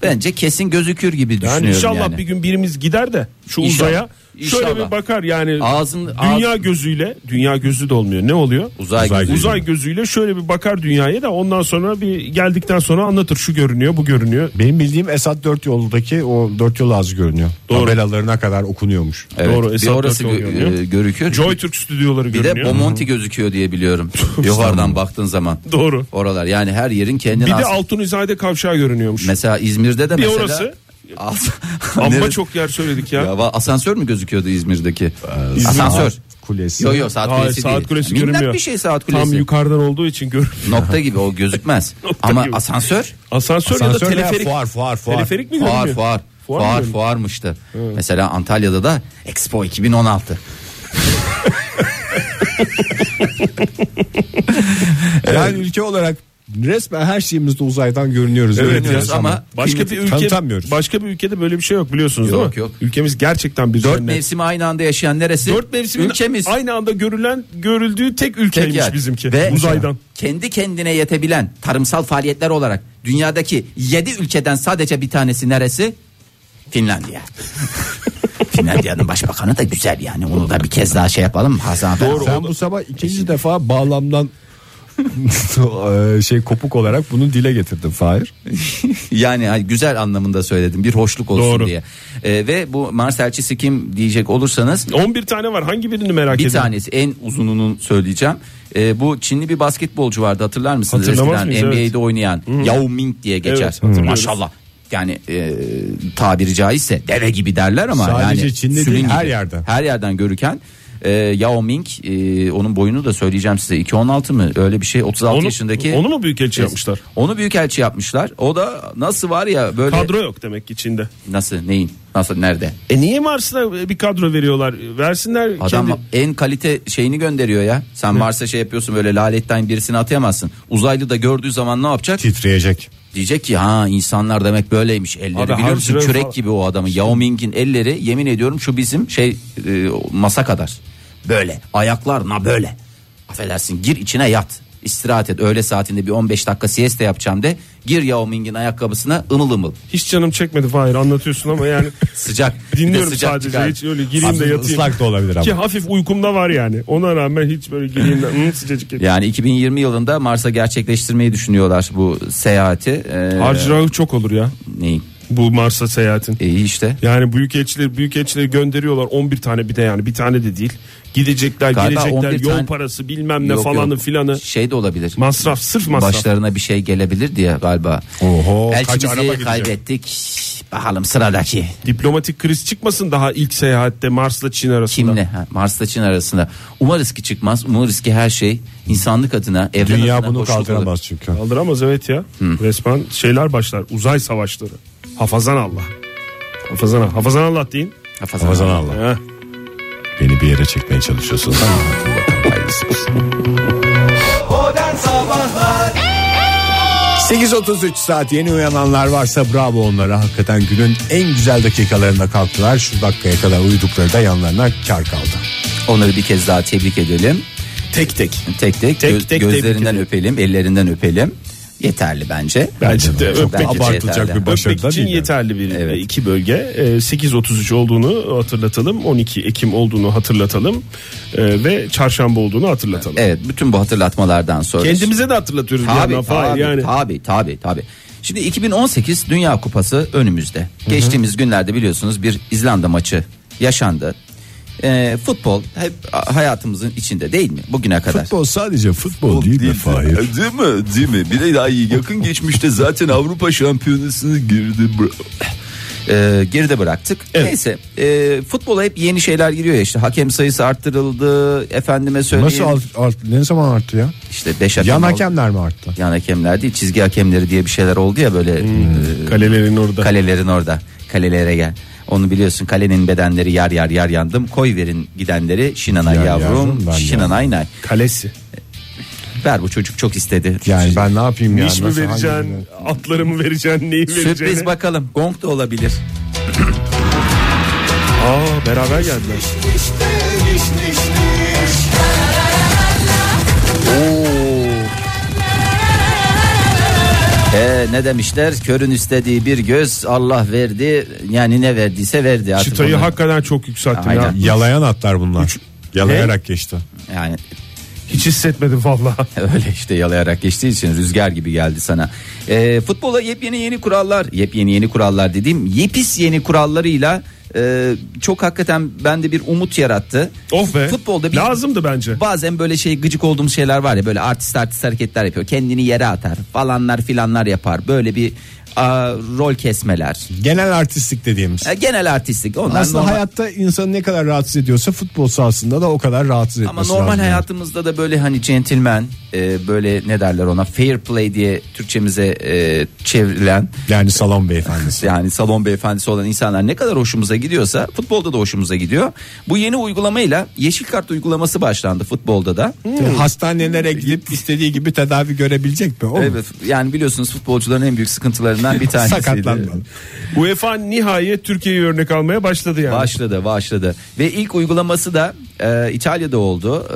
bence kesin gözükür gibi düşünüyorum
Yani
yani.
inşallah bir gün birimiz gider de şu
İnşallah.
uzaya şöyle
İnşallah.
bir bakar yani
Ağzın-
dünya
ağzın-
gözüyle dünya gözü de olmuyor ne oluyor?
Uzay gözüyle.
uzay gözüyle şöyle bir bakar dünyaya da ondan sonra bir geldikten sonra anlatır şu görünüyor bu görünüyor.
Benim bildiğim Esat dört yoldaki o dört yol ağzı görünüyor.
Doğru.
Tabelalarına kadar okunuyormuş.
Evet,
Doğru,
bir
Esat
orası
Dörtoğlu
gö-
görünüyor.
e, görüküyor.
Joy Türk stüdyoları
Bir de
görünüyor.
Bomonti gözüküyor diye biliyorum. Yukarıdan baktığın zaman.
Doğru.
Oralar yani her yerin kendine
Bir de
has-
Altunizade kavşağı görünüyormuş.
Mesela İzmir'de de
Bir
mesela.
orası.
As-
Amma
Neresi-
çok yer söyledik ya. Ee,
Ya, va- asansör mü gözüküyordu İzmir'deki?
İzmir
asansör.
Saat Kulesi.
Yok yok saat
Hayır,
kulesi
saat
değil.
kulesi
Minnak
görünmüyor.
bir şey saat kulesi.
Tam yukarıdan olduğu için görünmüyor.
Nokta gibi o gözükmez.
Nokta
Ama
gibi.
asansör
Asansör,
Asansör
ya da
veya
teleferik.
fuar fuar fuar.
Teleferik mi
fuar
görünüyor?
fuar.
Fuar
Fuar,
mı
fuar
görünüyor?
fuarmıştı. Mesela Antalya'da da Expo 2016.
Yani ülke olarak resmen her şeyimizde uzaydan görünüyoruz.
Evet,
Görünüyoruz
Biraz ama
Başka bir ülke
Tanıtamıyoruz.
başka bir ülkede böyle bir şey yok biliyorsunuz
Yok,
değil mi?
yok.
Ülkemiz gerçekten bir
dört
cennet.
mevsimi aynı anda yaşayan neresi?
Dört mevsimin
ülkemiz.
aynı anda görülen görüldüğü tek
Tek
ülkeymiş
yer.
bizimki.
Ve
Uzaydan.
Kendi kendine yetebilen tarımsal faaliyetler olarak dünyadaki 7 ülkeden sadece bir tanesi neresi? Finlandiya. Finlandiya'nın başbakanı da güzel yani. Onu da bir kez daha şey yapalım. Hasan Doğru.
Sen bu sabah ikinci defa bağlamdan eee, şey kopuk olarak bunu dile getirdin Fahir.
Yani hani güzel anlamında söyledim. Bir hoşluk olsun
Doğru.
diye. Ee, ve bu Mars elçisi kim diyecek olursanız
11 tane var. Hangi birini merak
bir
ediyorsun?
tanesi en uzununu söyleyeceğim. Ee, bu Çinli bir basketbolcu vardı hatırlar mısınız?
Hatırlamaz
Eskiden
mıyız?
NBA'de oynayan Yao Ming diye geçer.
Evet, hatırlıyoruz.
Maşallah. Yani e, tabiri caizse deve gibi derler ama
Sadece
yani
Çin'de
sülün
değil,
gibi.
her yerden.
Her yerden görüken e, Yao Ming e, onun boyunu da söyleyeceğim size 2.16 mı öyle bir şey 36
Onu-
yaşındaki.
onu mu büyükelçi yapmışlar?
Onu büyükelçi yapmışlar. O da nasıl var ya böyle
Kadro yok demek ki Çin'de.
nasıl neyin nasıl nerede?
E niye Mars'ta bir kadro veriyorlar? Versinler
Adam
kendi
en kalite şeyini gönderiyor ya. Sen Mars'a şey yapıyorsun böyle laletten birisini atayamazsın. Uzaylı da gördüğü zaman ne yapacak?
Titreyecek.
Diyecek ki ha insanlar demek böyleymiş. Elleri
Abi,
biliyor musun
harcırıyor
çürek
falan.
gibi o adamın. Yao Ming'in elleri yemin ediyorum şu bizim şey e, masa kadar. Böyle ayaklar na böyle. Affedersin gir içine yat. İstirahat et öğle saatinde bir 15 dakika siesta yapacağım de. Gir Yao Ming'in ayakkabısına ımıl ımıl.
hiç canım çekmedi Fahir anlatıyorsun ama yani
Sıcak. Bir de
dinliyorum
sıcak
sadece
çıkar.
hiç öyle gireyim de yatayım.
Islak da olabilir
Ki
ama.
hafif uykumda var yani. Ona rağmen hiç böyle gireyim de "Hı, sıcacık yatayım."
Yani 2020 yılında Mars'a gerçekleştirmeyi düşünüyorlar bu seyahati. Ee,
Harcırahı çok olur ya
neyi?
bu Mars'a seyahatin.
E, iyi işte.
Yani büyükelçileri büyükelçileri gönderiyorlar 11 tane bir de yani bir tane de değil. Gidecekler
Galiba
gelecekler
11
yol
tane-
parası bilmem ne
Yok,
falanı
yok.
filanı.
Şey de olabilir.
Masraf sırf masraf.
Başlarına bir şey gelebilir diye galiba.
Oho, kaç araba
Elçimizi
gidecek?
kaybettik. Bakalım sıradaki
Diplomatik kriz çıkmasın daha ilk seyahatte Mars'la Çin arasında.
kimle? Ha, Mars'la Çin arasında. Umarız ki çıkmaz. Umarız ki her şey insanlık adına, evren
Dünya
adına
bunu
hoşluk olur.
kaldıramaz çünkü.
Kaldıramaz evet ya. Resmen şeyler başlar. Uzay savaşları. Hafazan Allah. Hafazan Allah. Hafazan Allah deyin.
Hafazan
Ramazan
Allah.
Allah.
Heh.
Beni bir yere çekmeye çalışıyorsun. Hayırlısı olsun. 8.33 saat yeni uyananlar varsa bravo onlara. Hakikaten günün en güzel dakikalarında kalktılar. Şu dakikaya kadar uyudukları da yanlarına kar kaldı.
Onları bir kez daha tebrik edelim.
Tek tek.
Tek tek,
Tek
göz-
tek tebrik
gözlerinden
edelim.
öpelim, ellerinden öpelim. Yeterli bence.
Bence de
Çok
öpmek
bence
için
abartılacak
yeterli.
bir Başarı
Öpmek
da
için
değil yani.
yeterli bir e,
Evet.
iki bölge. Ee, 8.33 olduğunu hatırlatalım. 12 Ekim olduğunu hatırlatalım. Ee, Ve çarşamba olduğunu hatırlatalım.
Evet bütün bu hatırlatmalardan sonra.
Kendimize de hatırlatıyoruz bir
Tabii
yandan. Fahir
tabii,
yani.
tabii tabii tabii. Şimdi 2018 Dünya Kupası önümüzde. Geçtiğimiz günlerde biliyorsunuz bir İzlanda maçı yaşandı. e, futbol hep hayatımızın içinde değil mi bugüne kadar?
Futbol sadece futbol değil mi Fahir?
Değil mi? Değil mi? Bir de daha iyi. Yakın geçmişte zaten Avrupa Şampiyonası'nı girdi. bro-
e, geride bıraktık. Neyse e, futbola hep yeni şeyler giriyor ya işte hakem sayısı arttırıldı efendime söyleyeyim.
Nasıl alt, alt- ne zaman arttı ya?
İşte 5 hakem
Yan
oldu.
hakemler mi arttı?
Yan hakemler değil çizgi hakemleri diye bir şeyler oldu ya böyle
Hmm.
e,
Kalelerin orada.
kalelerin orada kalelere gel. Onu biliyorsun kalenin bedenleri yar yar yar yandım koy verin gidenleri Şinanay
Yar
yavrum
yavrum, ben
Şinanay nay.
Kalesi.
Ver bu çocuk çok istedi.
Yani ben ne yapayım ya?
Niş mi
Nasıl,
vereceksin?
hangi-
Atları mı vereceksin? Neyi
Sürpriz
vereceksin?
bakalım gong da olabilir.
Aa beraber geldiler.
Ee, ne demişler körün istediği bir göz Allah verdi yani ne verdiyse verdi. Artık
Çıtayı
onu-
hakikaten çok yükselttim ya.
Aynen.
Yalayan atlar bunlar. Yalayarak geçti.
Yani
Hiç hissetmedim valla.
Öyle işte yalayarak geçtiği için rüzgar gibi geldi sana. Ee, futbola yepyeni yeni kurallar, yepyeni yeni kurallar dediğim yepis yeni kurallarıyla e, çok hakikaten bende bir umut yarattı.
Of Oh be.
Futbolda bir,
Lazımdı bence.
Bazen böyle şey gıcık olduğumuz şeyler var ya böyle artist artist hareketler yapıyor. Kendini yere atar falanlar filanlar yapar. Böyle bir a, rol kesmeler.
Genel artistlik dediğimiz.
E, genel artistlik. Onlar
Aslında
normal-
hayatta insanı ne kadar rahatsız ediyorsa futbol sahasında da o kadar rahatsız etmesi
Ama normal
lazım.
hayatımızda da böyle hani centilmen e, böyle ne derler ona fair play diye Türkçemize e, çevrilen
Yani salon beyefendisi.
yani salon beyefendisi olan insanlar ne kadar hoşumuza gidiyorsa futbolda da hoşumuza gidiyor. Bu yeni uygulamayla yeşil kart uygulaması başlandı futbolda da.
E, Hastanelere gidip istediği gibi tedavi görebilecek mi? O mu?
Hmm. Evet yani biliyorsunuz futbolcuların en büyük sıkıntılarından bir tanesiydi.
Sakatlanmadı.
UEFA nihayet Türkiye'yi örnek almaya başladı yani.
Başladı başladı ve ilk uygulaması da e, İtalya'da oldu.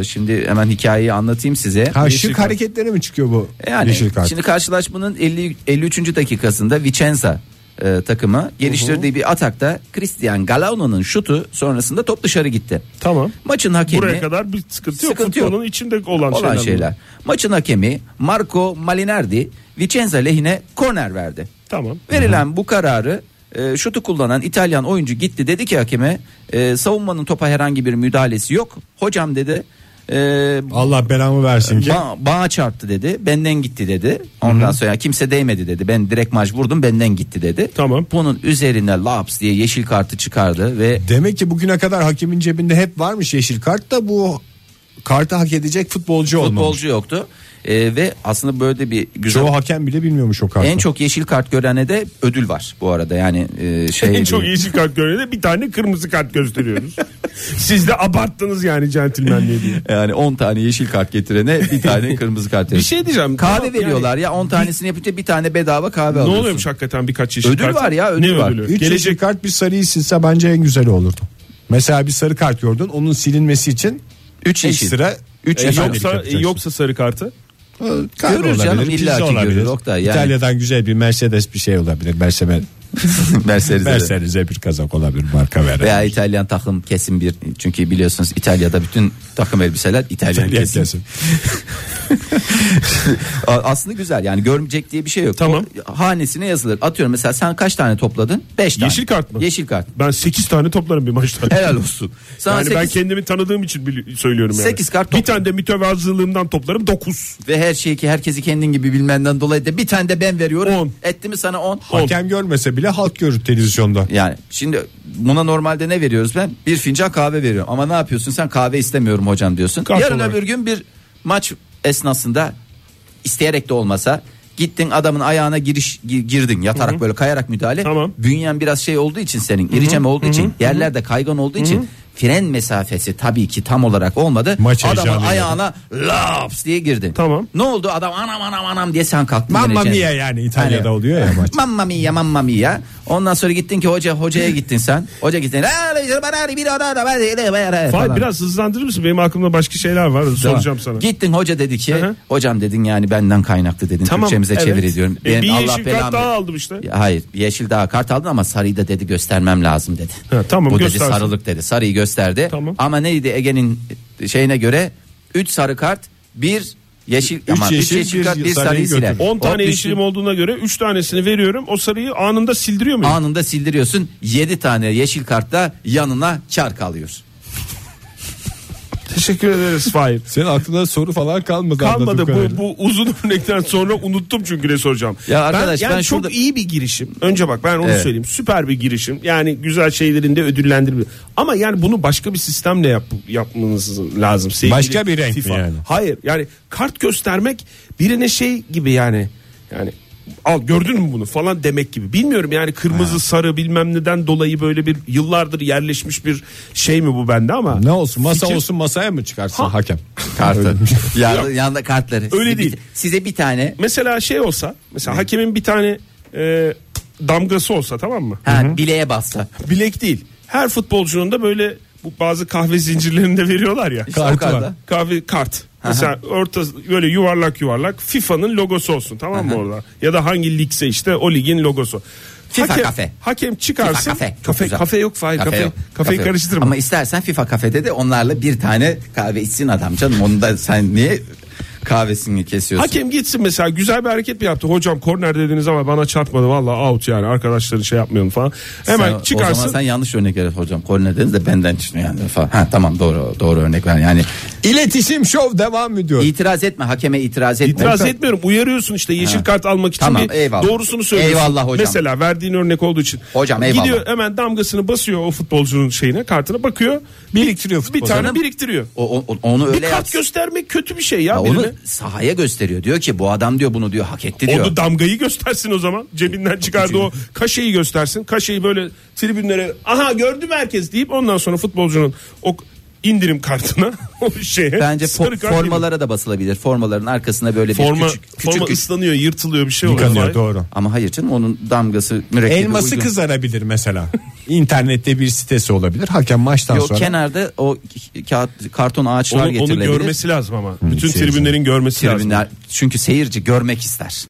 E, şimdi hemen hikayeyi anlatayım size.
Ha,
Yeşil
şık
kart.
hareketlere mi çıkıyor bu
E, Yani
yeşil kart?
şimdi karşılaşmanın 50, 53. dakikasında Vicenza e, takımı geliştirdiği bir atakta Christian Galano'nun şutu sonrasında top dışarı gitti.
Tamam.
Maçın hakemi
Buraya kadar bir sıkıntı yok.
Sıkıntı
Futbolun
yok.
içinde olan,
olan
şeyler.
şeyler. Maçın hakemi Marco Malinardi Vicenza lehine korner verdi.
Tamam.
Verilen bu kararı e, şutu kullanan İtalyan oyuncu gitti dedi ki hakeme e, savunmanın topa herhangi bir müdahalesi yok. Hocam dedi e,
Allah belamı versin ki.
Ba- bağa çarptı dedi. Benden gitti dedi. Ondan sonra kimse değmedi dedi. Ben direkt maç vurdum benden gitti dedi.
Tamam.
Bunun üzerine laps diye yeşil kartı çıkardı ve
Demek ki bugüne kadar hakemin cebinde hep varmış yeşil kart da bu kartı hak edecek futbolcu olmamış.
futbolcu yoktu. Ee, ve aslında böyle bir güzel
Çoğu hakem bile bilmiyormuş o kartı.
en çok yeşil kart görene de ödül var bu arada. Yani e, şey
En çok yeşil kart görevinde bir tane kırmızı kart gösteriyoruz. Siz de abarttınız yani centilmenliği diye.
yani 10 tane yeşil kart getirene bir tane kırmızı kart.
Bir şey diyeceğim.
kahve
Tamam,
veriyorlar ya 10 tanesini yapınca bir tane bedava kahve
Ne
alıyorsun.
oluyormuş hakikaten birkaç yeşil
Ödül
kart?
var ya, ödül
ne
var.
Ödülü?
3 yeşil
Gelecek
kart bir sarıyı silse bence en güzeli olurdu. Mesela bir sarı kart gördün onun silinmesi için
3 yeşil.
ekstra
Üç
e,
yeşil.
yeşillik
yoksa
yapacaksın.
yoksa sarı kartı.
Ee, kahve
Görür canım,
olabilir,
illa
pizza
ki
olabilir.
görür Oktay, yani.
İtalya'dan güzel bir Mercedes bir şey olabilir. Mercedes,
Mercedes'e de.
Mercedes'e bir kazak olabilir marka veren.
Veya İtalyan takım kesin bir çünkü biliyorsunuz İtalya'da bütün takım elbiseler İtalyan,
İtalyan
kesim.
kesim.
A- Aslında güzel yani görmeyecek diye bir şey yok.
Tamam.
O hanesine yazılır. Atıyorum mesela sen kaç tane topladın? 5 tane.
Yeşil kart mı?
Yeşil kart.
Ben 8 tane toplarım bir maçta.
Helal olsun. Sana
yani ben
sekiz-
kendimi tanıdığım için bili- söylüyorum yani.
Sekiz kart
Bir
topla.
tane de mütevazılığımdan toplarım 9.
ve her şeyi ki herkesi kendin gibi bilmenden dolayı da bir tane de ben veriyorum.
On.
Etti mi sana 10?
Hakem görmese bile halk görür televizyonda.
Yani şimdi buna normalde ne veriyoruz ben? Bir fincan kahve veriyorum. Ama ne yapıyorsun sen kahve istemiyorum hocam diyorsun.
Kart
Yarın
olarak.
öbür gün bir maç esnasında isteyerek de olmasa gittin adamın ayağına giriş gi- girdin yatarak böyle kayarak müdahale.
Tamam.
Bünyen biraz şey olduğu için senin iricem olduğu için yerlerde kaygan olduğu için fren mesafesi tabii ki tam olarak olmadı.
Maç
adamın
heyecanıyla.
ayağına laps diye girdin.
Tamam.
Ne oldu adam anam anam anam diye sen kalktın.
Mamma
yine.
mia yani İtalya'da
Hani-
oluyor ya maç.
Mamma mia mamma mia. Ondan sonra gittin ki hoca hocaya gittin sen. Hoca gittin.
Fay
Falan.
biraz hızlandırır mısın? Benim aklımda başka şeyler var.
Tamam.
Soracağım sana.
Gittin hoca dedi ki
hı.
hocam dedin yani benden kaynaklı dedin.
Tamam,
Türkçemize
evet.
çevir ediyorum.
E, bir
Benim
yeşil kart
belamı-
daha aldım işte.
Ya, Hayır bir yeşil daha kart aldın ama sarıyı da dedi göstermem lazım dedi.
Ha, tamam,
Bu
göstersin.
dedi sarılık dedi. Sarıyı gösterdi.
Tamam.
Ama neydi Ege'nin şeyine göre 3 sarı kart bir Yeşil ama üç yeşil,
yeşil, bir
kart, bir
sarıyı
sarıyı siler.
götür.
10
Hop,
tane
düştü.
yeşilim olduğuna göre 3 tanesini veriyorum. O sarıyı anında sildiriyor muyum?
Anında sildiriyorsun. 7 tane yeşil kartla yanına çark kalıyor.
Teşekkür ederiz Fahir.
Senin aklında soru falan kalmadı.
Kalmadı bu,
anladığım kadarıyla.
bu uzun örnekten sonra unuttum çünkü ne soracağım.
Ya arkadaş,
yani
ben
çok
şurada-
iyi bir girişim. Önce bak ben onu
Evet.
söyleyeyim. Süper bir girişim. Yani güzel şeylerin de ödüllendirme. Ama yani bunu başka bir sistemle yap, yapmanız lazım. Sevgili
Başka bir renk mi
FIFA.
yani?
Hayır yani kart göstermek birine şey gibi yani. Yani al gördün mü bunu falan demek gibi. Bilmiyorum yani kırmızı sarı bilmem neden dolayı böyle bir yıllardır yerleşmiş bir şey mi bu bende ama.
Ne olsun masa
Fikir-
olsun masaya mı çıkarsın hakem? şey.
Kartı. Yanında, yanında kartları. Size
Öyle
bir-
değil.
size bir tane
mesela şey olsa mesela hakemin bir tane e, damgası olsa tamam mı?
ha, bileğe bassa.
Bilek değil. Her futbolcunun da böyle bu bazı kahve zincirlerinde veriyorlar ya.
İşte o
Kartı
kartı.
var.
Kahve kart. Mesela orta böyle yuvarlak yuvarlak FIFA'nın logosu olsun tamam mı orada? Ya da hangi ligse işte o ligin logosu.
FIFA
hakem,
kafe.
Hakem
FIFA
çıkarsın.
kafe. Çok
Kafe,
güzel.
kafe yok Fahir. Kafe,
yok.
Kafeyi
Kafe yok.
karıştırma.
Ama istersen FIFA kafede de onlarla bir tane kahve içsin adam canım. Onu da sen niye kahvesini kesiyorsun?
Hakem gitsin mesela güzel bir hareket mi yaptı? Hocam korner dediniz ama bana çarpmadı valla out yani arkadaşların şey yapmayalım falan. Hemen
Sen- O
çıkarsın.
zaman sen yanlış örnek ver hocam. Korner dediniz de benden çıkıyor yani falan. Ha, tamam doğru doğru örnek ver. Yani
İletişim şov devam ediyor.
itiraz etme hakeme itiraz etme.
İtiraz etmiyorum. Uyarıyorsun işte yeşil
Ha.
kart almak için
Tamam,
bir
eyvallah.
doğrusunu söylüyorsun.
Eyvallah hocam.
Mesela verdiğin örnek olduğu için.
Hocam, eyvallah.
Gidiyor hemen damgasını basıyor o futbolcunun şeyine kartına bakıyor. Biriktiriyor
futbolcu.
Bir tane biriktiriyor.
O, o- onu öyle
bir kart
yapsın.
göstermek kötü bir şey ya,
Ya
birine.
onu sahaya gösteriyor. Diyor ki bu adam diyor bunu diyor hak etti diyor.
Onu damgayı göstersin o zaman. Cebinden çıkardığı o kaşeyi göstersin. Kaşeyi böyle tribünlere aha gördüm herkes deyip ondan sonra futbolcunun o indirim kartına o şeye
Bence
sarı
fo-
kart indirim.
formalara da basılabilir. Formaların arkasına böyle bir
forma,
küçük küçük
forma
küçük-
ıslanıyor yırtılıyor bir şey
Yıkanıyor
oluyor.
doğru.
Ama hayır canım onun damgası mürekkebi
Elması
uygun.
kızarabilir mesela. İnternette bir sitesi olabilir. Hakem maçtan
Yok
sonra.
kenarda o k- kağıt karton ağaçlar
Onu, onu
getirilebilir.
görmesi lazım ama. Bütün
seyirci.
tribünlerin görmesi lazım.
Tribünler- çünkü seyirci görmek ister.